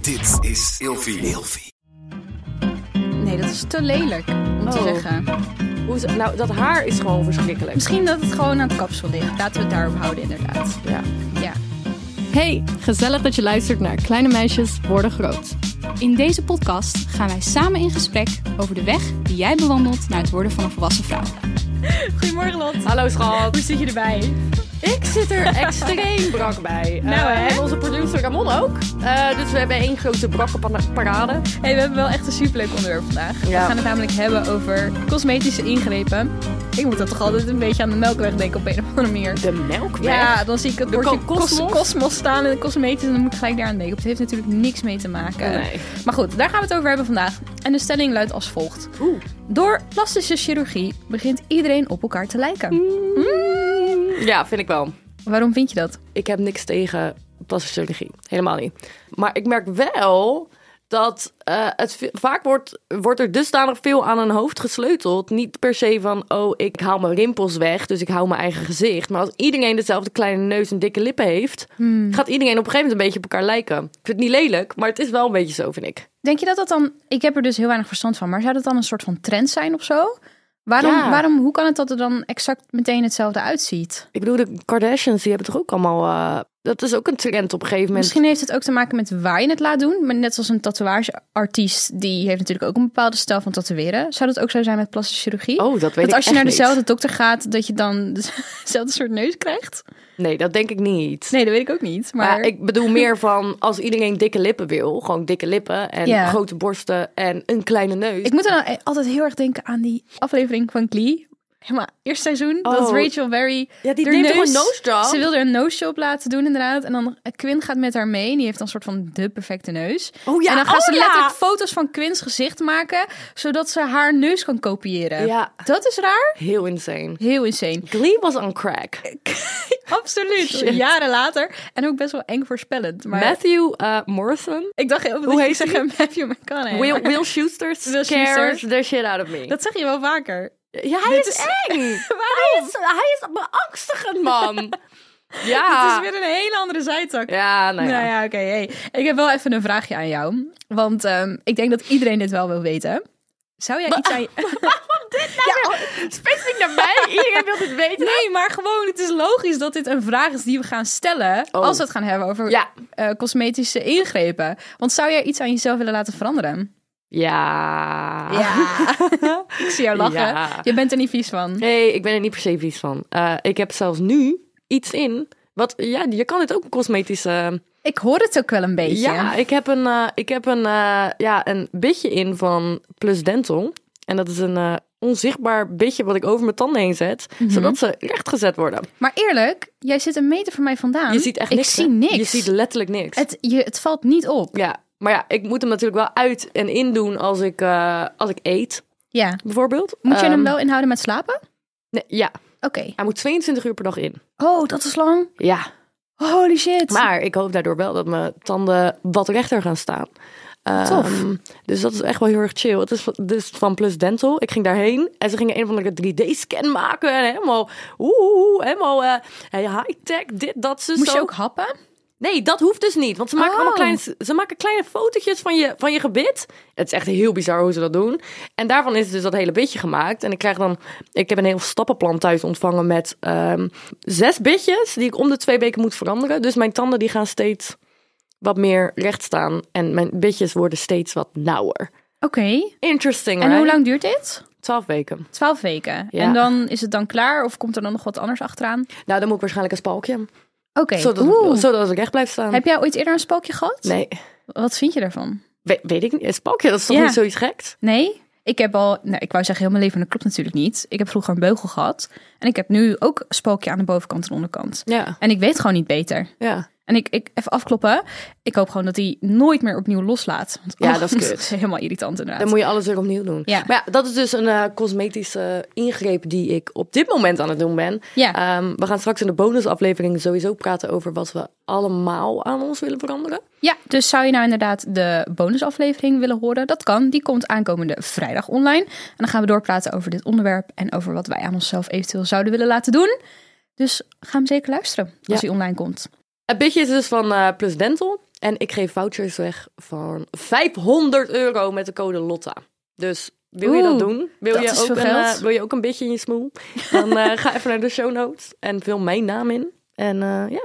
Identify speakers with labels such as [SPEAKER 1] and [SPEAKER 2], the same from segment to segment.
[SPEAKER 1] Dit is Ilfie.
[SPEAKER 2] Nee, dat is te lelijk om te
[SPEAKER 3] Oh.
[SPEAKER 2] zeggen.
[SPEAKER 3] Hoe is- nou, dat haar is gewoon verschrikkelijk.
[SPEAKER 2] Misschien dat het gewoon aan het kapsel ligt. Laten we het daarop houden, inderdaad.
[SPEAKER 3] Ja.
[SPEAKER 2] Ja.
[SPEAKER 4] Hey, gezellig dat je luistert naar Kleine Meisjes Worden Groot.
[SPEAKER 5] In deze podcast gaan wij samen in gesprek over de weg die jij bewandelt naar het worden van een volwassen vrouw.
[SPEAKER 2] Goedemorgen, Lot.
[SPEAKER 3] Hallo schat.
[SPEAKER 2] Hoe zit je erbij?
[SPEAKER 3] Ik zit er extreem brak bij.
[SPEAKER 2] Nou,
[SPEAKER 3] Eh,
[SPEAKER 2] hè?
[SPEAKER 3] En onze producer Ramon ook. Eh, dus we hebben één grote brakke pana- parade.
[SPEAKER 2] Hey, we hebben wel echt een superleuk onderwerp vandaag. We
[SPEAKER 3] Ja.
[SPEAKER 2] gaan het namelijk hebben over cosmetische ingrepen. Ik moet dat toch altijd een beetje aan de melkweg denken op een of andere manier.
[SPEAKER 3] De melkweg.
[SPEAKER 2] Ja, dan zie ik het
[SPEAKER 3] De
[SPEAKER 2] bordje
[SPEAKER 3] ko- kosmos?
[SPEAKER 2] kos- kosmos staan in de cosmetisch en dan moet ik gelijk daaraan denken. Het heeft natuurlijk niks mee te maken.
[SPEAKER 3] Nee.
[SPEAKER 2] Maar goed, daar gaan we het over hebben vandaag. En de stelling luidt als volgt.
[SPEAKER 3] Oeh.
[SPEAKER 2] Door plastische chirurgie begint iedereen op elkaar te lijken.
[SPEAKER 3] Mm. ja, vind ik wel.
[SPEAKER 2] Waarom vind je dat?
[SPEAKER 3] ik heb niks tegen plastische chirurgie. Helemaal niet. Maar ik merk wel dat eh, het ve- vaak wordt, wordt er dusdanig veel aan een hoofd gesleuteld. Niet per se van, oh, ik haal mijn rimpels weg, dus ik hou mijn eigen gezicht. Maar als iedereen dezelfde kleine neus en dikke lippen heeft, gaat iedereen op een gegeven moment een beetje op elkaar lijken. Ik vind het niet lelijk, maar het is wel een beetje zo, vind ik.
[SPEAKER 2] Denk je dat dat dan... Ik heb er dus heel weinig verstand van, maar zou dat dan een soort van trend zijn of zo? Waarom,
[SPEAKER 3] Ja.
[SPEAKER 2] waarom, hoe kan het dat er dan exact meteen hetzelfde uitziet?
[SPEAKER 3] Ik bedoel, de Kardashians, die hebben toch ook allemaal... eh, dat is ook een trend op een gegeven moment.
[SPEAKER 2] Misschien heeft het ook te maken met waar je het laat doen. Maar net zoals een tatoeageartiest, die heeft natuurlijk ook een bepaalde stijl van tatoeëren. Zou dat ook zo zijn met plastische chirurgie?
[SPEAKER 3] Oh, dat weet
[SPEAKER 2] dat
[SPEAKER 3] ik
[SPEAKER 2] als je
[SPEAKER 3] echt
[SPEAKER 2] naar
[SPEAKER 3] niet.
[SPEAKER 2] dezelfde dokter gaat, dat je dan dezelfde soort neus krijgt?
[SPEAKER 3] Nee, dat denk ik niet.
[SPEAKER 2] Nee, dat weet ik ook niet. Maar,
[SPEAKER 3] Maar ik bedoel meer van als iedereen dikke lippen wil, gewoon dikke lippen en
[SPEAKER 2] Ja.
[SPEAKER 3] grote borsten en een kleine neus.
[SPEAKER 2] Ik moet dan al- altijd heel erg denken aan die aflevering van Glee. Helemaal eerste seizoen. Dat
[SPEAKER 3] Oh.
[SPEAKER 2] Rachel Berry.
[SPEAKER 3] Ja, die
[SPEAKER 2] haar
[SPEAKER 3] deed toch een nose job?
[SPEAKER 2] Ze wilde een nose job laten doen, inderdaad. En dan eh, Quinn gaat met haar mee. En die heeft dan een soort van de perfecte neus.
[SPEAKER 3] Oh ja,
[SPEAKER 2] en dan gaan
[SPEAKER 3] oh
[SPEAKER 2] ze
[SPEAKER 3] ja.
[SPEAKER 2] letterlijk foto's van Quinn's gezicht maken. Zodat ze haar neus kan kopiëren.
[SPEAKER 3] Ja.
[SPEAKER 2] Dat is raar.
[SPEAKER 3] Heel insane.
[SPEAKER 2] Heel insane.
[SPEAKER 3] Glee was on crack.
[SPEAKER 2] Absoluut. Jaren later. En ook best wel eng voorspellend. Maar
[SPEAKER 3] Matthew eh, Morrison,
[SPEAKER 2] ik dacht heel
[SPEAKER 3] Hoe
[SPEAKER 2] Hoe
[SPEAKER 3] heet
[SPEAKER 2] heet zeggen Matthew McConaughey.
[SPEAKER 3] Will,
[SPEAKER 2] maar
[SPEAKER 3] Will Schuster scares
[SPEAKER 2] Schuester.
[SPEAKER 3] the shit out of me.
[SPEAKER 2] Dat zeg je wel vaker.
[SPEAKER 3] ja, hij
[SPEAKER 2] dit
[SPEAKER 3] is,
[SPEAKER 2] is-
[SPEAKER 3] eng. hij, is, hij is beangstigend, man.
[SPEAKER 2] Het
[SPEAKER 3] ja.
[SPEAKER 2] is weer een hele andere zijtak.
[SPEAKER 3] Ja, nou ja.
[SPEAKER 2] Nou ja, oké. hey. Ik heb wel even een vraagje aan jou. Want ehm, ik denk dat iedereen dit wel wil weten. Zou jij iets aan je... oh,
[SPEAKER 3] Specifiek naar mij, iedereen wil dit weten.
[SPEAKER 2] nou Nee, maar gewoon, het is logisch dat dit een vraag is die we gaan stellen...
[SPEAKER 3] Oh.
[SPEAKER 2] als we het gaan hebben over
[SPEAKER 3] Ja.
[SPEAKER 2] eh, cosmetische ingrepen. Want zou jij iets aan jezelf willen laten veranderen?
[SPEAKER 3] Ja.
[SPEAKER 2] ik zie jou lachen.
[SPEAKER 3] Ja.
[SPEAKER 2] Je bent er niet vies van.
[SPEAKER 3] Nee, ik ben er niet per se vies van. Eh, ik heb zelfs nu iets in. Wat, ja, je kan het ook een cosmetische.
[SPEAKER 2] Ik hoor het ook wel een beetje.
[SPEAKER 3] ja, ik heb een, eh, ik heb een, eh, ja, een bitje in van Plus Dental. En dat is een eh, onzichtbaar bitje wat ik over mijn tanden heen zet.
[SPEAKER 2] Mhm.
[SPEAKER 3] Zodat ze rechtgezet worden.
[SPEAKER 2] Maar eerlijk, jij zit een meter van mij vandaan.
[SPEAKER 3] Je ziet echt
[SPEAKER 2] Ah, ik
[SPEAKER 3] niks.
[SPEAKER 2] zie
[SPEAKER 3] hè?
[SPEAKER 2] niks.
[SPEAKER 3] Je ziet letterlijk niks.
[SPEAKER 2] het, je, het valt niet op.
[SPEAKER 3] Ja, maar ja, ik moet hem natuurlijk wel uit en in doen als ik, eh, als ik eet,
[SPEAKER 2] Ja.
[SPEAKER 3] bijvoorbeeld.
[SPEAKER 2] Moet je
[SPEAKER 3] Ehm,
[SPEAKER 2] hem wel inhouden met slapen?
[SPEAKER 3] nee, ja,
[SPEAKER 2] Oké.
[SPEAKER 3] hij moet 22 uur per dag in.
[SPEAKER 2] Oh, dat is lang.
[SPEAKER 3] Ja,
[SPEAKER 2] Holy shit.
[SPEAKER 3] Maar ik hoop daardoor wel dat mijn tanden wat rechter gaan staan.
[SPEAKER 2] Tof.
[SPEAKER 3] Ehm, dus dat is echt wel heel erg chill. Het is van- dus van Plus Dental. Ik ging daarheen en ze gingen een of andere 3D-scan maken. En helemaal, oeh, oeh, helemaal eh, high-tech, dit, dat, zus,
[SPEAKER 2] Moest
[SPEAKER 3] zo.
[SPEAKER 2] je ook happen?
[SPEAKER 3] Nee, dat hoeft dus niet. Want ze maken
[SPEAKER 2] Oh.
[SPEAKER 3] allemaal kleine, ze maken kleine fotootjes van je, van je gebit. Het is echt heel bizar hoe ze dat doen. En daarvan is dus dat hele bitje gemaakt. En ik krijg dan, ik heb een heel stappenplan thuis ontvangen met ehm, zes bitjes die ik om de twee weken moet veranderen. Dus mijn tanden die gaan steeds wat meer recht staan. En mijn bitjes worden steeds wat nauwer.
[SPEAKER 2] Oké.
[SPEAKER 3] Interesting,
[SPEAKER 2] En hoe
[SPEAKER 3] right?
[SPEAKER 2] lang duurt dit?
[SPEAKER 3] Twaalf weken.
[SPEAKER 2] Twaalf weken.
[SPEAKER 3] Ja.
[SPEAKER 2] En dan is het dan klaar of komt er dan nog wat anders achteraan? Oké.
[SPEAKER 3] Nou, dan moet ik waarschijnlijk een spalkje. Zodat,
[SPEAKER 2] Oeh.
[SPEAKER 3] zodat ik recht blijf staan.
[SPEAKER 2] Heb jij ooit eerder een spookje gehad?
[SPEAKER 3] Nee,
[SPEAKER 2] Wat vind je daarvan?
[SPEAKER 3] We- weet ik niet. Een spalkje, dat is toch
[SPEAKER 2] Ja.
[SPEAKER 3] niet zoiets geks?
[SPEAKER 2] Nee? Ik heb al, nou, ik wou zeggen heel mijn leven, maar dat klopt natuurlijk niet. Ik heb vroeger een beugel gehad. En ik heb nu ook een spookje aan de bovenkant en onderkant.
[SPEAKER 3] Ja,
[SPEAKER 2] En ik weet gewoon niet beter.
[SPEAKER 3] ja.
[SPEAKER 2] En ik, ik even afkloppen. Ik hoop gewoon dat hij nooit meer opnieuw loslaat. Want,
[SPEAKER 3] Ja,
[SPEAKER 2] oh,
[SPEAKER 3] dat is kut.
[SPEAKER 2] helemaal irritant inderdaad.
[SPEAKER 3] Dan moet je alles weer opnieuw doen.
[SPEAKER 2] Ja.
[SPEAKER 3] Maar ja, dat is dus een eh, cosmetische ingreep die ik op dit moment aan het doen ben.
[SPEAKER 2] Ja.
[SPEAKER 3] Ehm, we gaan straks in de bonusaflevering sowieso praten over wat we allemaal aan ons willen veranderen.
[SPEAKER 2] Ja, dus zou je nou inderdaad de bonusaflevering willen horen? Dat kan. Die komt aankomende vrijdag online. En dan gaan we doorpraten over dit onderwerp en over wat wij aan onszelf eventueel zouden willen laten doen. Dus ga hem zeker luisteren als
[SPEAKER 3] Ja.
[SPEAKER 2] hij online komt.
[SPEAKER 3] Het bitje is dus van eh Plus Dental. En ik geef vouchers weg van 500 euro met de code LOTTA. Dus wil je dat
[SPEAKER 2] Oeh,
[SPEAKER 3] doen? Wil,
[SPEAKER 2] dat
[SPEAKER 3] je,
[SPEAKER 2] is
[SPEAKER 3] ook
[SPEAKER 2] veel
[SPEAKER 3] een, eh,
[SPEAKER 2] geld.
[SPEAKER 3] wil je ook een beetje in je smoel? Dan eh, ga even naar de show notes en vul mijn naam in. En eh, ja,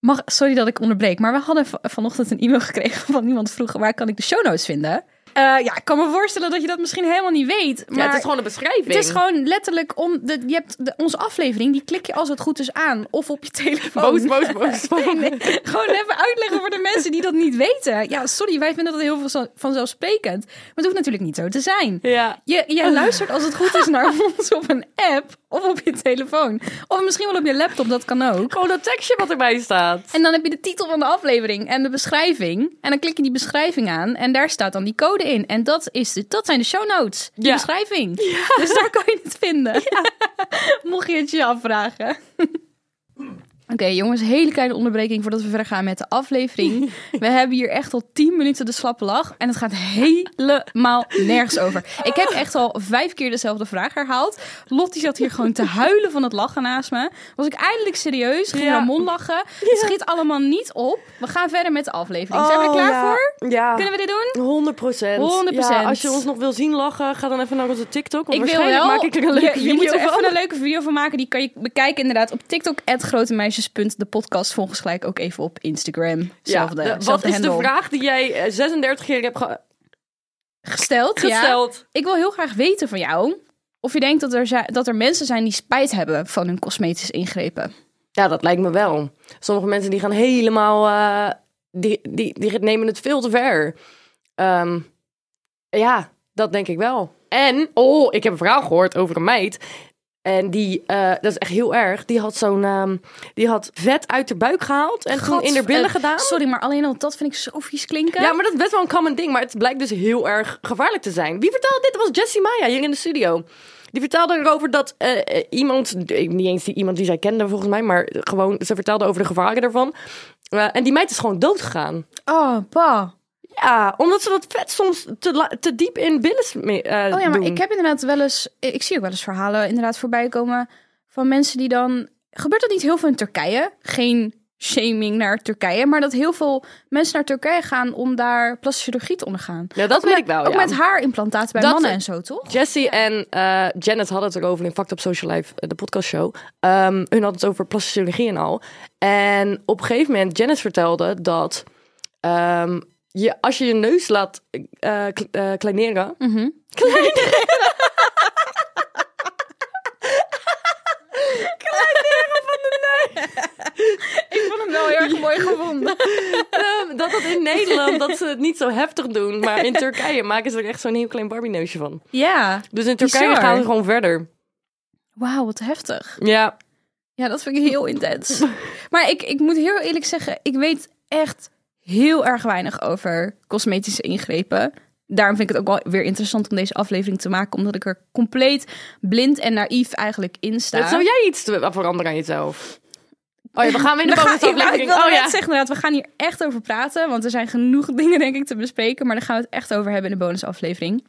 [SPEAKER 2] Mag, sorry dat ik onderbreek, maar we hadden va- vanochtend een e-mail gekregen van iemand vroeg waar kan ik de show notes vinden? Eh, ja, ik kan me voorstellen dat je dat misschien helemaal niet weet. Maar
[SPEAKER 3] ja, het is gewoon een beschrijving.
[SPEAKER 2] het is gewoon letterlijk om de, je hebt de, onze aflevering, die klik je als het goed is aan of op je telefoon.
[SPEAKER 3] boos, boos, boos.
[SPEAKER 2] Nee, nee. Gewoon even uitleggen voor de mensen die dat niet weten. Ja, sorry, wij vinden dat heel veel zo- vanzelfsprekend. Maar het hoeft natuurlijk niet zo te zijn.
[SPEAKER 3] Ja.
[SPEAKER 2] Je, jij luistert als het goed is naar ons op een app of op je telefoon. Of misschien wel op je laptop, dat kan ook.
[SPEAKER 3] Gewoon dat tekstje wat erbij staat.
[SPEAKER 2] En dan heb je de titel van de aflevering en de beschrijving. En dan klik je die beschrijving aan en daar staat dan die code in. En dat, is de, dat zijn de show notes, die
[SPEAKER 3] Ja.
[SPEAKER 2] beschrijving. Dus daar kan je het vinden. Mocht je het je afvragen. Oké jongens, hele kleine onderbreking voordat we verder gaan met de aflevering. We hebben hier echt al 10 minuten de slappe lach en het gaat helemaal nergens over. Ik heb echt al vijf keer dezelfde vraag herhaald. Lottie zat hier gewoon te huilen van het lachen naast me. Was ik eindelijk serieus, ging
[SPEAKER 3] Ja.
[SPEAKER 2] haar mond lachen. Het schiet allemaal niet op. We gaan verder met de aflevering. Zijn we er klaar voor?
[SPEAKER 3] Oh, Ja.
[SPEAKER 2] Kunnen we dit doen?
[SPEAKER 3] 100 procent.
[SPEAKER 2] 100%.
[SPEAKER 3] als je ons nog wil zien lachen, ga dan even naar onze TikTok. Want
[SPEAKER 2] ik wil
[SPEAKER 3] waarschijnlijk
[SPEAKER 2] wel.
[SPEAKER 3] maak ik er een leuke
[SPEAKER 2] je, je
[SPEAKER 3] video
[SPEAKER 2] moet er
[SPEAKER 3] van.
[SPEAKER 2] even een leuke video van maken. Die kan je bekijken inderdaad op TikTok. @grotemeisjes. De podcast volgens gelijk ook even op Instagram. Zelfde,
[SPEAKER 3] de- eh, wat
[SPEAKER 2] zelfde
[SPEAKER 3] is
[SPEAKER 2] handle.
[SPEAKER 3] de vraag die jij eh, 36 keer hebt ge-
[SPEAKER 2] Gesteld, ja.
[SPEAKER 3] gesteld?
[SPEAKER 2] Ik wil heel graag weten van jou. Of je denkt dat er, zi- dat er mensen zijn die spijt hebben van hun cosmetische ingrepen.
[SPEAKER 3] Ja. dat lijkt me wel. Sommige mensen die gaan helemaal... eh, die, die, die nemen het veel te ver. Ehm, ja, dat denk ik wel. En, oh, ik heb een verhaal gehoord over een meid... En die, eh, dat is echt heel erg, die had zo'n, ehm, die had vet uit haar buik gehaald en gewoon
[SPEAKER 2] Gad-
[SPEAKER 3] in haar billen
[SPEAKER 2] eh,
[SPEAKER 3] gedaan.
[SPEAKER 2] Sorry, maar alleen al dat vind ik zo vies klinken.
[SPEAKER 3] Ja, maar dat is best wel een common ding. Maar het blijkt dus heel erg gevaarlijk te zijn. Wie vertelde dit? Dat was Jessie Maya hier in de studio. Die vertelde erover dat eh, eh, iemand, eh, niet eens die, iemand die zij kende volgens mij, maar gewoon, ze vertelde over de gevaren daarvan. Eh, en die meid is gewoon dood gegaan.
[SPEAKER 2] Oh, pa.
[SPEAKER 3] Ja, omdat ze dat vet soms te, la- te diep in billen sme- eh,
[SPEAKER 2] Oh ja, maar
[SPEAKER 3] doen.
[SPEAKER 2] ik heb inderdaad wel eens. Ik zie ook wel eens verhalen inderdaad voorbij komen van mensen die dan. Gebeurt dat niet heel veel in Turkije? Geen shaming naar Turkije, maar dat heel veel mensen naar Turkije gaan om daar plastische chirurgie te ondergaan.
[SPEAKER 3] Ja, dat weet ik wel,
[SPEAKER 2] Ook
[SPEAKER 3] ja.
[SPEAKER 2] met haarimplantaten bij
[SPEAKER 3] Dat-
[SPEAKER 2] mannen en zo, toch?
[SPEAKER 3] Jessie en eh, Janet hadden het erover in Fact Up Social Life, eh, de podcastshow. Ehm hun hadden het over plastische chirurgie en al. En op een gegeven moment, Janet vertelde dat ehm, je, als je je neus laat eh, kle- eh, kleineren...
[SPEAKER 2] Ik vond hem wel heel erg mooi gevonden.
[SPEAKER 3] ehm, dat dat in Nederland, dat ze het niet zo heftig doen. Maar in Turkije maken ze er echt zo'n heel klein Barbie neusje van.
[SPEAKER 2] Ja.
[SPEAKER 3] Dus in Turkije
[SPEAKER 2] Bizar.
[SPEAKER 3] gaan ze gewoon verder.
[SPEAKER 2] Wauw, wat heftig.
[SPEAKER 3] Ja,
[SPEAKER 2] Ja, dat vind ik heel intens. Maar ik, ik moet heel eerlijk zeggen, ik weet echt heel erg weinig over cosmetische ingrepen. Daarom vind ik het ook wel weer interessant om deze aflevering te maken, omdat ik er compleet blind en naïef eigenlijk in sta.
[SPEAKER 3] zou jij iets te- veranderen aan jezelf? Oh ja, we gaan weer naar
[SPEAKER 2] Dan
[SPEAKER 3] de
[SPEAKER 2] ga-
[SPEAKER 3] bonusaflevering.
[SPEAKER 2] Ik, nou, ik wilde
[SPEAKER 3] oh,
[SPEAKER 2] net
[SPEAKER 3] ja.
[SPEAKER 2] zeggen inderdaad, we gaan hier echt over praten, want er zijn genoeg dingen denk ik te bespreken, maar daar gaan we het echt over hebben in de bonusaflevering.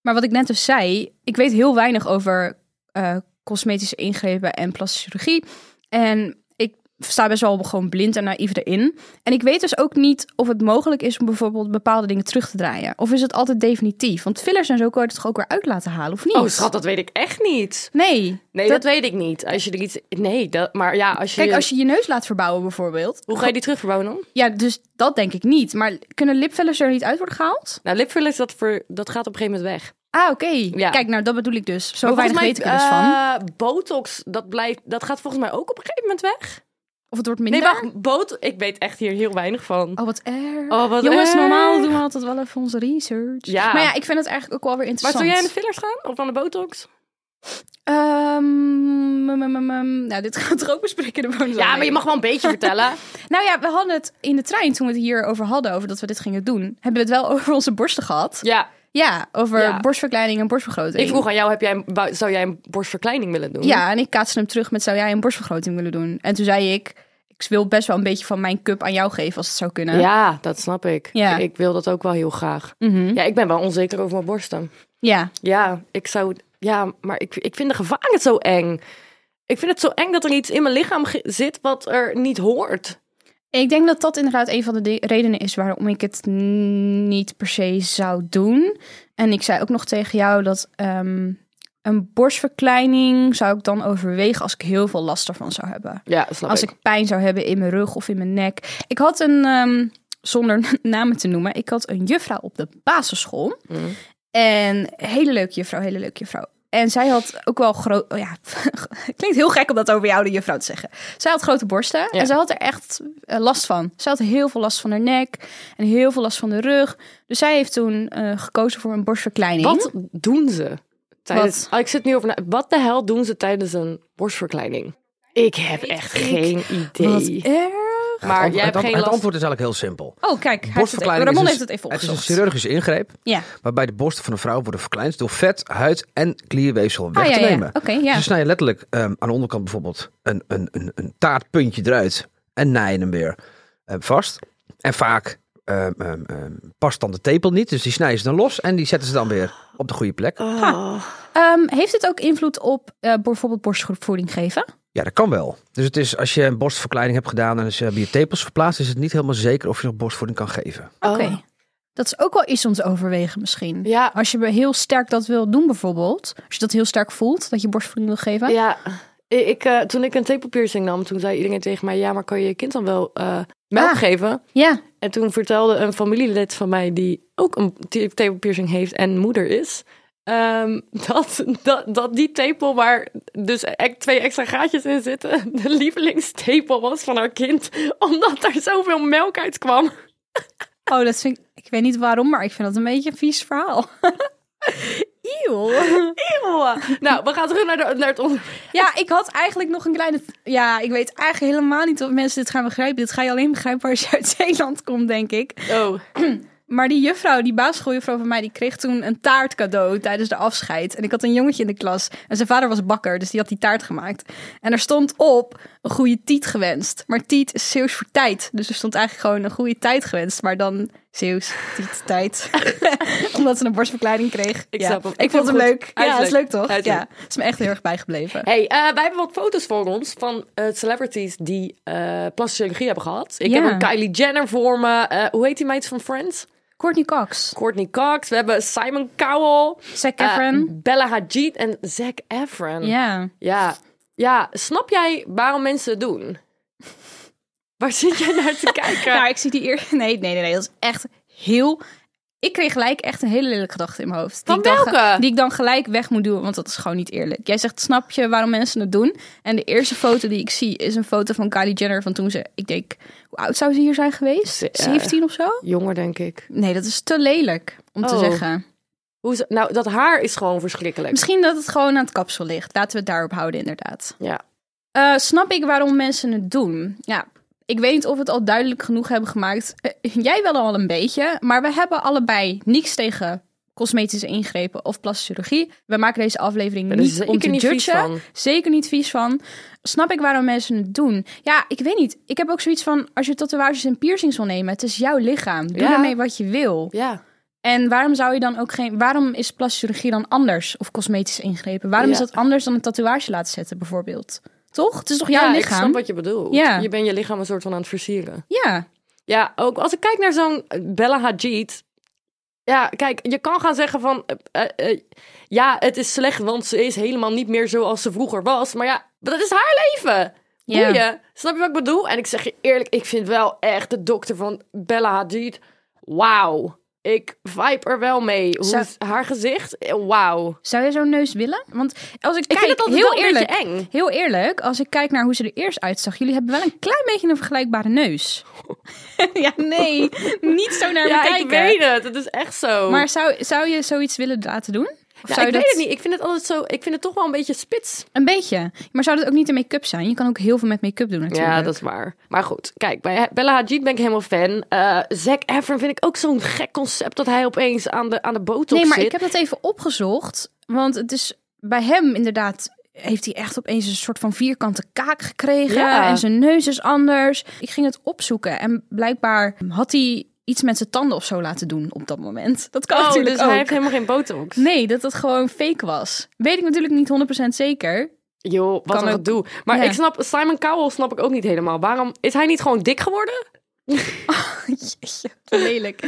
[SPEAKER 2] Maar wat ik net dus zei, ik weet heel weinig over eh, cosmetische ingrepen en plastische chirurgie. En ik sta best wel gewoon blind en naïef erin. En ik weet dus ook niet of het mogelijk is om bijvoorbeeld bepaalde dingen terug te draaien. Of is het altijd definitief? Want fillers en zo kan je het toch ook weer uit laten halen, of niet?
[SPEAKER 3] Oh schat, dat weet ik echt niet.
[SPEAKER 2] Nee.
[SPEAKER 3] Nee, dat, weet ik niet. Als je er iets. Nee, dat, maar ja, als je.
[SPEAKER 2] Kijk, als je je neus laat verbouwen bijvoorbeeld.
[SPEAKER 3] Hoe ga je die terugverbouwen dan?
[SPEAKER 2] Ja, dus dat denk ik niet. Maar kunnen lipfillers er niet uit worden gehaald?
[SPEAKER 3] Nou, lipfillers, dat, ver, dat gaat op een gegeven moment weg.
[SPEAKER 2] Ah, oké.
[SPEAKER 3] Ja.
[SPEAKER 2] Kijk, nou, dat bedoel ik dus. Zo
[SPEAKER 3] Maar
[SPEAKER 2] weinig
[SPEAKER 3] volgens mij,
[SPEAKER 2] weet ik er dus van.
[SPEAKER 3] eh, Botox, dat, blijft, dat gaat volgens mij ook op een gegeven moment weg.
[SPEAKER 2] Of het wordt
[SPEAKER 3] Nee,
[SPEAKER 2] minder.
[SPEAKER 3] wacht. Bot, ik weet echt hier heel weinig van.
[SPEAKER 2] Oh, wat erg.
[SPEAKER 3] Oh, wat
[SPEAKER 2] Jongens,
[SPEAKER 3] erg.
[SPEAKER 2] normaal doen we altijd wel even onze research.
[SPEAKER 3] Ja.
[SPEAKER 2] Maar ja, ik vind het eigenlijk ook wel weer
[SPEAKER 3] Maar zou
[SPEAKER 2] interessant.
[SPEAKER 3] jij aan de fillers gaan? Of aan de botox?
[SPEAKER 2] Ehm, mm, mm, mm, mm. nou, dit gaan we toch ook bespreken in de bonus
[SPEAKER 3] Ja, maar je mag wel een beetje vertellen.
[SPEAKER 2] Nou ja, we hadden het in de trein toen we het hier over hadden, over dat we dit gingen doen. Hebben we het wel over onze borsten gehad?
[SPEAKER 3] Ja,
[SPEAKER 2] Ja, over
[SPEAKER 3] Ja.
[SPEAKER 2] borstverkleining en borstvergroting.
[SPEAKER 3] ik vroeg aan jou, heb jij een, bou- zou jij een borstverkleining willen doen?
[SPEAKER 2] Ja, en ik kaatste hem terug met: zou jij een borstvergroting willen doen? En toen zei ik: ik wil best wel een beetje van mijn cup aan jou geven als het zou kunnen.
[SPEAKER 3] Ja, dat snap ik.
[SPEAKER 2] Ja.
[SPEAKER 3] Ik wil dat ook wel heel graag.
[SPEAKER 2] Mhm.
[SPEAKER 3] Ja, ik ben wel onzeker over mijn borsten.
[SPEAKER 2] ja.
[SPEAKER 3] Ja, ik zou. Ja, maar ik, ik vind de gevaren het zo eng. Ik vind het zo eng dat er iets in mijn lichaam ge- zit wat er niet hoort.
[SPEAKER 2] Ik denk dat dat inderdaad een van de di- redenen is waarom ik het n- niet per se zou doen. En ik zei ook nog tegen jou dat ehm, een borstverkleining zou ik dan overwegen als ik heel veel last ervan zou hebben.
[SPEAKER 3] Ja, snap
[SPEAKER 2] Als
[SPEAKER 3] ik.
[SPEAKER 2] ik pijn zou hebben in mijn rug of in mijn nek. Ik had een, ehm, zonder namen te noemen, ik had een juffrouw op de basisschool.
[SPEAKER 3] Mm.
[SPEAKER 2] En hele leuke juffrouw, hele leuke juffrouw. En zij had ook wel groot. oh ja, het klinkt heel gek om dat over jou, de juffrouw, te zeggen. Zij had grote borsten
[SPEAKER 3] Ja.
[SPEAKER 2] en zij had er echt eh, last van. Zij had heel veel last van haar nek en heel veel last van de rug. Dus zij heeft toen eh, gekozen voor een borstverkleining.
[SPEAKER 3] Wat doen ze? Tijdens, Ah, ik zit nu over na. Wat de hel doen ze tijdens een borstverkleining? Ik heb echt geen
[SPEAKER 2] Wat
[SPEAKER 3] idee.
[SPEAKER 2] erg.
[SPEAKER 3] Maar
[SPEAKER 1] Het
[SPEAKER 3] jij hebt
[SPEAKER 1] antwo-
[SPEAKER 3] geen
[SPEAKER 1] Het
[SPEAKER 3] last.
[SPEAKER 1] antwoord is eigenlijk heel simpel.
[SPEAKER 2] Oh, kijk, hij heeft het,
[SPEAKER 1] Borstverkleining
[SPEAKER 2] Ramon
[SPEAKER 1] is
[SPEAKER 2] heeft
[SPEAKER 1] een-
[SPEAKER 2] het even
[SPEAKER 1] Het is een
[SPEAKER 2] opgezocht.
[SPEAKER 1] chirurgische ingreep
[SPEAKER 2] ja.
[SPEAKER 1] waarbij de borsten van een vrouw worden verkleind door vet, huid en klierweefsel weg
[SPEAKER 2] Ah, ja,
[SPEAKER 1] te
[SPEAKER 2] ja.
[SPEAKER 1] nemen.
[SPEAKER 2] Oké, ja.
[SPEAKER 1] Dus Ze snijden letterlijk ehm, aan de onderkant bijvoorbeeld een, een, een, een taartpuntje eruit en naaien hem weer eh, vast. En vaak ehm, ehm, ehm, past dan de tepel niet, dus die snijden ze dan los en die zetten ze dan weer op de goede plek.
[SPEAKER 3] Ah.
[SPEAKER 2] Ehm, heeft het ook invloed op eh, bijvoorbeeld borstvoeding geven?
[SPEAKER 1] Ja, dat kan wel. Dus het is, als je een borstverkleining hebt gedaan en ze hebben je tepels verplaatst, is het niet helemaal zeker of je nog borstvoeding kan geven.
[SPEAKER 2] Oké.
[SPEAKER 3] Oh.
[SPEAKER 2] Dat is ook wel iets om te overwegen misschien.
[SPEAKER 3] Ja,
[SPEAKER 2] Als je heel sterk dat wil doen bijvoorbeeld. Als je dat heel sterk voelt, dat je borstvoeding wil geven.
[SPEAKER 3] ja. Ik, ik, eh, toen ik een tepelpiercing nam, toen zei iedereen tegen mij... Ja, maar kan je je kind dan wel eh, melk
[SPEAKER 2] Ah.
[SPEAKER 3] geven?
[SPEAKER 2] Ja.
[SPEAKER 3] En toen vertelde een familielid van mij die ook een te- tepelpiercing heeft en moeder is... ehm, dat, dat, dat die tepel waar dus e- twee extra gaatjes in zitten... de lievelingstepel was van haar kind. Omdat daar zoveel melk uit kwam.
[SPEAKER 2] Oh, dat vind ik... Ik weet niet waarom, maar ik vind dat een beetje een vies verhaal. Eeuw.
[SPEAKER 3] nou, we gaan terug naar, de, naar het onderwerp.
[SPEAKER 2] Ja, ik had eigenlijk nog een kleine... Ja, ik weet eigenlijk helemaal niet of mensen dit gaan begrijpen. Dit ga je alleen begrijpen als je uit Zeeland komt, denk ik.
[SPEAKER 3] Oh,
[SPEAKER 2] Maar die juffrouw, die basisschooljuffrouw van mij, die kreeg toen een taart cadeau tijdens de afscheid. En ik had een jongetje in de klas en zijn vader was bakker, dus die had die taart gemaakt. En er stond op een goede tiet gewenst. Maar tiet is Zeeuws voor tijd. Dus er stond eigenlijk gewoon een goede tijd gewenst, maar dan Zeeuws, tiet, tijd. Omdat ze een borstverkleiding kreeg.
[SPEAKER 3] Ik
[SPEAKER 2] ja.
[SPEAKER 3] snap hem.
[SPEAKER 2] Ik,
[SPEAKER 3] Ik
[SPEAKER 2] vond
[SPEAKER 3] vind
[SPEAKER 2] hem
[SPEAKER 3] hem goed.
[SPEAKER 2] leuk.
[SPEAKER 3] Hij is
[SPEAKER 2] Ja, dat is
[SPEAKER 3] leuk.
[SPEAKER 2] leuk toch?
[SPEAKER 3] Hij is
[SPEAKER 2] ja,
[SPEAKER 3] leuk.
[SPEAKER 2] is me echt heel erg bijgebleven.
[SPEAKER 3] Hey, eh, wij hebben wat foto's voor ons van eh, celebrities die eh plastische chirurgie hebben gehad. Ik
[SPEAKER 2] Ja.
[SPEAKER 3] heb een Kylie Jenner voor me. Eh, hoe heet die meid van Friends?
[SPEAKER 2] Courtney Cox,
[SPEAKER 3] Courtney Cox. We hebben Simon Cowell.
[SPEAKER 2] Zac
[SPEAKER 3] eh,
[SPEAKER 2] Efron.
[SPEAKER 3] Bella Hadid en Zac Efron.
[SPEAKER 2] Ja.
[SPEAKER 3] ja. Ja, snap jij waarom mensen het doen? Waar zit jij naar te kijken?
[SPEAKER 2] Nou, ik zie die eer. Nee, nee, nee, nee. Dat is echt heel. Ik kreeg gelijk echt een hele lelijke gedachte in mijn hoofd.
[SPEAKER 3] Van
[SPEAKER 2] ik dan ge-
[SPEAKER 3] welke?
[SPEAKER 2] die ik dan gelijk weg moet doen, want dat is gewoon niet eerlijk. Jij zegt, snap je waarom mensen het doen? En de eerste foto die ik zie is een foto van Kylie Jenner van toen ze... Ik denk, hoe oud zou ze hier zijn geweest?
[SPEAKER 3] Ze- ja.
[SPEAKER 2] 17 of zo?
[SPEAKER 3] Jonger, denk ik.
[SPEAKER 2] Nee, dat is te lelijk om te
[SPEAKER 3] Oh.
[SPEAKER 2] zeggen.
[SPEAKER 3] Hoe ze- nou, dat haar is gewoon verschrikkelijk.
[SPEAKER 2] Misschien dat het gewoon aan het kapsel ligt. Laten we het daarop houden, inderdaad.
[SPEAKER 3] Ja.
[SPEAKER 2] Eh, snap ik waarom mensen het doen? Ja, ik weet niet of we het al duidelijk genoeg hebben gemaakt. Eh, jij wel al een beetje, maar we hebben allebei niks tegen cosmetische ingrepen of plastische chirurgie. We maken deze aflevering
[SPEAKER 3] Ben er
[SPEAKER 2] niet
[SPEAKER 3] zeker
[SPEAKER 2] om te
[SPEAKER 3] niet vies
[SPEAKER 2] judgen.
[SPEAKER 3] van.
[SPEAKER 2] Zeker niet vies van. Snap ik waarom mensen het doen? Ja, ik weet niet. Ik heb ook zoiets van, als je tatoeages en piercings wil nemen, het is jouw lichaam. Doe
[SPEAKER 3] Ja.
[SPEAKER 2] ermee wat je wil.
[SPEAKER 3] Ja.
[SPEAKER 2] En waarom zou je dan ook geen. Waarom is plastische chirurgie dan anders? Of cosmetische ingrepen? Waarom
[SPEAKER 3] Ja.
[SPEAKER 2] is dat anders dan een tatoeage laten zetten, bijvoorbeeld? Toch? Het is toch jouw
[SPEAKER 3] ja, ik
[SPEAKER 2] lichaam?
[SPEAKER 3] snap wat je bedoelt.
[SPEAKER 2] Ja.
[SPEAKER 3] Je bent je lichaam een soort van aan het versieren.
[SPEAKER 2] Ja.
[SPEAKER 3] Ja, ook als ik kijk naar zo'n eh, Bella Hadid. Ja, kijk, je kan gaan zeggen van... eh, eh, eh, ja, het is slecht, want ze is helemaal niet meer zoals ze vroeger was. Maar ja, maar dat is haar leven.
[SPEAKER 2] Ja.
[SPEAKER 3] Boeien. Snap je wat ik bedoel? En ik zeg je eerlijk, ik vind wel echt de dokter van Bella Hadid... Wauw. Ik vibe er wel mee. Hoe
[SPEAKER 2] Zo-
[SPEAKER 3] is haar gezicht? Eh, Wauw.
[SPEAKER 2] Zou je zo'n neus willen? Want als ik,
[SPEAKER 3] Ik
[SPEAKER 2] kijk,
[SPEAKER 3] vind het altijd
[SPEAKER 2] heel
[SPEAKER 3] wel een
[SPEAKER 2] eerlijk.
[SPEAKER 3] beetje eng.
[SPEAKER 2] Heel eerlijk, als ik kijk naar hoe ze er eerst uitzag, jullie hebben wel een klein beetje een vergelijkbare neus. ja, nee, niet zo naar
[SPEAKER 3] Ja,
[SPEAKER 2] me kijken.
[SPEAKER 3] ik weet het. Het is echt zo.
[SPEAKER 2] Maar zou, zou je zoiets willen laten doen? Of
[SPEAKER 3] Ja,
[SPEAKER 2] zou
[SPEAKER 3] ik
[SPEAKER 2] je
[SPEAKER 3] weet
[SPEAKER 2] dat-
[SPEAKER 3] het niet. Ik vind het altijd zo... Ik vind het toch wel een beetje spits.
[SPEAKER 2] Een beetje. Maar zou dat ook niet de make-up zijn? Je kan ook heel veel met make-up doen natuurlijk.
[SPEAKER 3] Ja, dat is waar. Maar goed, kijk, bij Bella Hadid ben ik helemaal fan. Eh Zac Efron vind ik ook zo'n gek concept dat hij opeens aan de, aan de botox
[SPEAKER 2] Nee, maar
[SPEAKER 3] zit.
[SPEAKER 2] ik heb dat even opgezocht. Want het is bij hem inderdaad. Heeft hij echt opeens een soort van vierkante kaak gekregen?
[SPEAKER 3] Ja.
[SPEAKER 2] En zijn neus is anders. Ik ging het opzoeken en blijkbaar had hij iets met zijn tanden of zo laten doen op dat moment. Dat kan
[SPEAKER 3] Oh,
[SPEAKER 2] natuurlijk
[SPEAKER 3] dus
[SPEAKER 2] ook.
[SPEAKER 3] hij heeft helemaal geen botox.
[SPEAKER 2] Nee, dat dat gewoon fake was. Weet ik natuurlijk niet 100% zeker.
[SPEAKER 3] Joh, wat
[SPEAKER 2] Kan
[SPEAKER 3] een
[SPEAKER 2] ook.
[SPEAKER 3] gedoe. Maar
[SPEAKER 2] Ja.
[SPEAKER 3] ik snap, Simon Cowell snap ik ook niet helemaal. Waarom is hij niet gewoon dik geworden?
[SPEAKER 2] Jeetje, lelijk.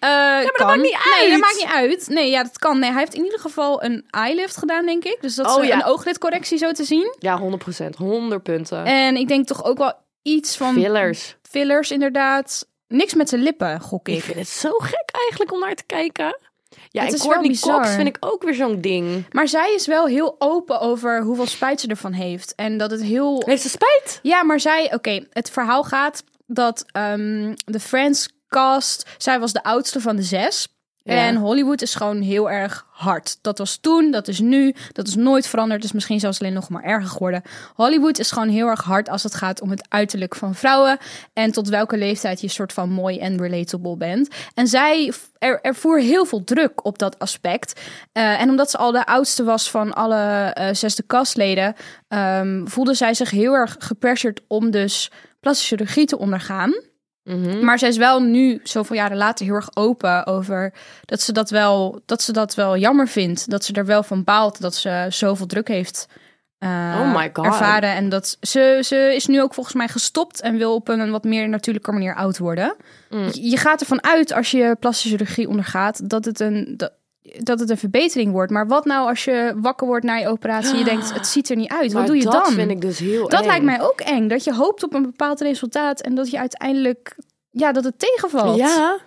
[SPEAKER 2] ja, maar dat maakt
[SPEAKER 3] niet
[SPEAKER 2] Eh, Nee, dat
[SPEAKER 3] uit.
[SPEAKER 2] maakt niet uit. Nee, ja, dat kan. Nee, hij heeft in ieder geval een eyelift gedaan, denk ik. Dus dat is
[SPEAKER 3] Oh,
[SPEAKER 2] eh,
[SPEAKER 3] ja.
[SPEAKER 2] een ooglidcorrectie zo te zien.
[SPEAKER 3] Ja, 100%. 100 punten.
[SPEAKER 2] En ik denk toch ook wel iets van
[SPEAKER 3] Fillers.
[SPEAKER 2] fillers, inderdaad. Niks met zijn lippen, gok
[SPEAKER 3] Ik
[SPEAKER 2] ik.
[SPEAKER 3] vind het zo gek eigenlijk om naar te kijken. Ja,
[SPEAKER 2] Het
[SPEAKER 3] en
[SPEAKER 2] is wel
[SPEAKER 3] Courtney
[SPEAKER 2] bizar.
[SPEAKER 3] Cox vind ik ook weer zo'n ding.
[SPEAKER 2] Maar zij is wel heel open over hoeveel spijt ze ervan heeft. En dat het heel...
[SPEAKER 3] Heeft ze spijt?
[SPEAKER 2] Ja, maar zij... Oké, het verhaal gaat dat ehm, de Friends cast... Zij was de oudste van de zes.
[SPEAKER 3] Ja.
[SPEAKER 2] En Hollywood is gewoon heel erg hard. Dat was toen, dat is nu, dat is nooit veranderd. Dus misschien zelfs alleen nog maar erger geworden. Hollywood is gewoon heel erg hard als het gaat om het uiterlijk van vrouwen. En tot welke leeftijd je soort van mooi en relatable bent. En zij v- er, ervoer heel veel druk op dat aspect. Eh, en omdat ze al de oudste was van alle eh, zesde kastleden, ehm, voelde zij zich heel erg gepressured om dus plastische chirurgie te ondergaan.
[SPEAKER 3] Mhm.
[SPEAKER 2] Maar zij is wel nu, zoveel jaren later, heel erg open over dat ze dat wel, dat ze dat wel jammer vindt. Dat ze er wel van baalt dat ze zoveel druk heeft eh,
[SPEAKER 3] Oh my God.
[SPEAKER 2] ervaren. En dat ze, ze is nu ook volgens mij gestopt en wil op een wat meer natuurlijke manier oud worden.
[SPEAKER 3] Mm.
[SPEAKER 2] Je, je gaat ervan uit als je plastische chirurgie ondergaat dat het een. Dat, dat het een verbetering wordt. Maar wat nou als je wakker wordt na je operatie... en je denkt, het ziet er niet uit.
[SPEAKER 3] Maar
[SPEAKER 2] Wat doe je
[SPEAKER 3] dat
[SPEAKER 2] dan?
[SPEAKER 3] vind ik dus heel
[SPEAKER 2] Dat
[SPEAKER 3] eng.
[SPEAKER 2] lijkt mij ook eng. Dat je hoopt op een bepaald resultaat en dat je uiteindelijk, ja, dat het tegenvalt.
[SPEAKER 3] Ja.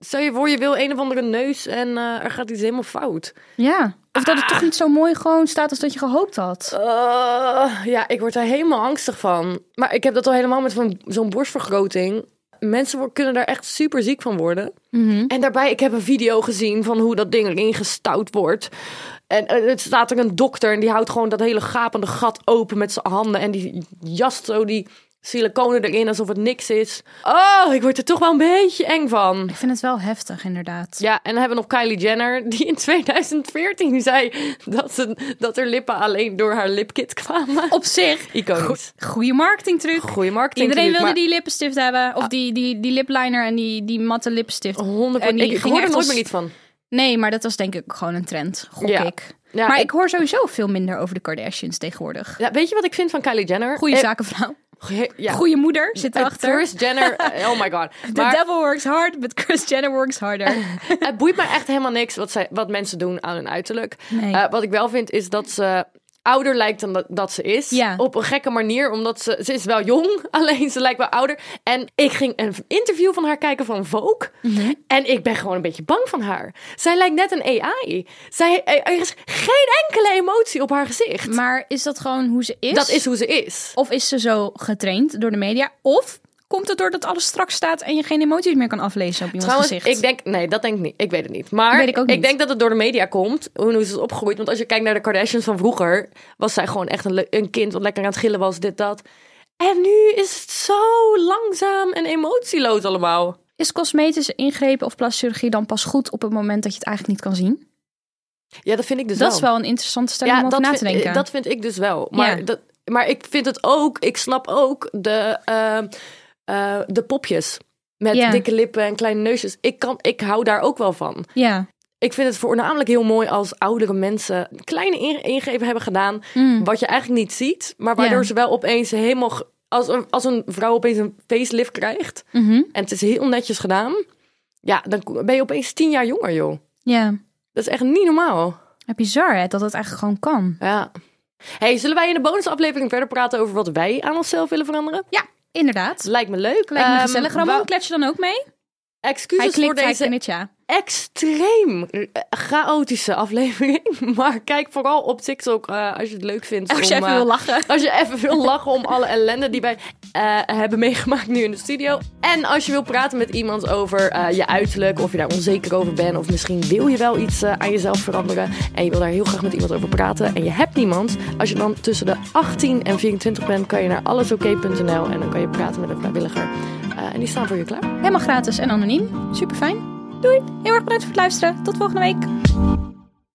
[SPEAKER 3] Stel je voor, je wil een of andere neus en eh, er gaat iets helemaal fout.
[SPEAKER 2] Ja. Of dat het toch niet zo mooi gewoon staat als dat je gehoopt had.
[SPEAKER 3] Eh, ja, ik word daar helemaal angstig van. Maar ik heb dat al helemaal met van- zo'n borstvergroting. Mensen wo- kunnen daar echt super ziek van worden.
[SPEAKER 2] Mhm.
[SPEAKER 3] En daarbij, ik heb een video gezien van hoe dat ding erin gestouwd wordt. En eh, het staat er een dokter en die houdt gewoon dat hele gapende gat open met zijn handen. En die jast zo die siliconen erin alsof het niks is. Oh, ik word er toch wel een beetje eng van.
[SPEAKER 2] Ik vind het wel heftig, inderdaad.
[SPEAKER 3] Ja, en dan hebben we nog Kylie Jenner, die in 2014 zei dat, ze, dat er lippen alleen door haar lipkit kwamen.
[SPEAKER 2] Op zich,
[SPEAKER 3] Iconisch.
[SPEAKER 2] goede marketingtruc. Ah.
[SPEAKER 3] Goeie marketing.
[SPEAKER 2] Iedereen wilde
[SPEAKER 3] natuurlijk,
[SPEAKER 2] die lippenstift hebben. Of die, die, die lipliner en die, die matte lippenstift.
[SPEAKER 3] maar 100%.
[SPEAKER 2] en die
[SPEAKER 3] ik
[SPEAKER 2] ging
[SPEAKER 3] hoor er
[SPEAKER 2] echt
[SPEAKER 3] nooit
[SPEAKER 2] als-
[SPEAKER 3] meer iets van.
[SPEAKER 2] Nee, maar dat was denk ik gewoon een trend. Gok
[SPEAKER 3] Ja.
[SPEAKER 2] ik.
[SPEAKER 3] Ja,
[SPEAKER 2] maar
[SPEAKER 3] ik-
[SPEAKER 2] ik Eh, hoor sowieso veel minder over de Kardashians tegenwoordig.
[SPEAKER 3] Ja, weet je wat ik vind van Kylie Jenner?
[SPEAKER 2] Goede
[SPEAKER 3] Eh,
[SPEAKER 2] zakenvrouw.
[SPEAKER 3] ge- Ja.
[SPEAKER 2] Goede moeder zit
[SPEAKER 3] Eh,
[SPEAKER 2] erachter.
[SPEAKER 3] Kris Jenner, eh, oh my god.
[SPEAKER 2] The
[SPEAKER 3] Maar
[SPEAKER 2] devil works hard, but Kris Jenner works harder.
[SPEAKER 3] het boeit me echt helemaal niks wat, zij, wat mensen doen aan hun uiterlijk.
[SPEAKER 2] Nee.
[SPEAKER 3] Eh, wat ik wel vind is dat ze ouder lijkt dan dat, dat ze is.
[SPEAKER 2] Ja.
[SPEAKER 3] Op een gekke manier, omdat ze, ze is wel jong, alleen ze lijkt wel ouder. En ik ging een interview van haar kijken van Vogue.
[SPEAKER 2] Mhm.
[SPEAKER 3] En ik ben gewoon een beetje bang van haar. Zij lijkt net een AI. Zij, er is geen enkele emotie op haar gezicht.
[SPEAKER 2] Maar is dat gewoon hoe ze is?
[SPEAKER 3] Dat is hoe ze is.
[SPEAKER 2] Of is ze zo getraind door de media? Of komt het doordat alles strak staat en je geen emoties meer kan aflezen op iemands
[SPEAKER 3] Trouwens,
[SPEAKER 2] gezicht?
[SPEAKER 3] ik denk... Nee, dat denk ik niet. Ik weet het niet. Maar
[SPEAKER 2] Weet ik ook niet.
[SPEAKER 3] denk dat het door de media komt. Hoe hoe ze het opgegroeid. Want als je kijkt naar de Kardashians van vroeger... was zij gewoon echt een, le- een kind wat lekker aan het gillen was. Dit, dat. En nu is het zo langzaam en emotieloos allemaal.
[SPEAKER 2] Is cosmetische ingrepen of plastische chirurgie dan pas goed op het moment dat je het eigenlijk niet kan zien?
[SPEAKER 3] Ja, dat vind ik dus
[SPEAKER 2] dat is wel een interessante stelling om over na te
[SPEAKER 3] vind,
[SPEAKER 2] denken.
[SPEAKER 3] Dat vind ik dus wel. Maar,
[SPEAKER 2] Ja.
[SPEAKER 3] dat, maar ik vind het ook, ik snap ook de, eh, eh, de popjes. Met
[SPEAKER 2] Ja.
[SPEAKER 3] dikke lippen en kleine neusjes. Ik, kan, ik hou daar ook wel van.
[SPEAKER 2] Ja.
[SPEAKER 3] Ik vind het voornamelijk heel mooi als oudere mensen kleine in- ingrepen hebben gedaan.
[SPEAKER 2] Mm,
[SPEAKER 3] Wat je eigenlijk niet ziet. Maar waardoor
[SPEAKER 2] Hm. Ja.
[SPEAKER 3] ze wel opeens helemaal. ge- Als een, als een vrouw opeens een facelift krijgt.
[SPEAKER 2] mhm.
[SPEAKER 3] En het is heel netjes gedaan. Ja, dan ko- ben je opeens tien jaar jonger, joh.
[SPEAKER 2] ja.
[SPEAKER 3] Dat is echt niet normaal.
[SPEAKER 2] Ja, Bizar hè, dat het eigenlijk gewoon kan.
[SPEAKER 3] Ja. Hey, zullen wij in de bonusaflevering verder praten over wat wij aan onszelf willen veranderen?
[SPEAKER 2] Ja, inderdaad.
[SPEAKER 3] Lijkt me leuk.
[SPEAKER 2] Lijkt me
[SPEAKER 3] Ehm,
[SPEAKER 2] gezellig.
[SPEAKER 3] wou-
[SPEAKER 2] Ramon, klets je dan ook mee? Hij
[SPEAKER 3] Excuses voor
[SPEAKER 2] klikt, hij
[SPEAKER 3] deze
[SPEAKER 2] knikt, ja.
[SPEAKER 3] extreem eh, chaotische aflevering. Maar kijk vooral op TikTok eh, als je het leuk vindt.
[SPEAKER 2] Als je
[SPEAKER 3] om,
[SPEAKER 2] even
[SPEAKER 3] eh,
[SPEAKER 2] wil lachen.
[SPEAKER 3] Als je even wil lachen om alle ellende die wij eh, hebben meegemaakt nu in de studio. En als je wil praten met iemand over eh, je uiterlijk, of je daar onzeker over bent, of misschien wil je wel iets eh, aan jezelf veranderen en je wil daar heel graag met iemand over praten en je hebt niemand. Als je dan tussen de 18 en 24 bent, kan je naar allesoké.nl en dan kan je praten met een vrijwilliger. Eh, en die staan voor je klaar.
[SPEAKER 2] Helemaal gratis en anoniem. Super fijn. Doei. Heel erg bedankt voor het luisteren. Tot volgende week.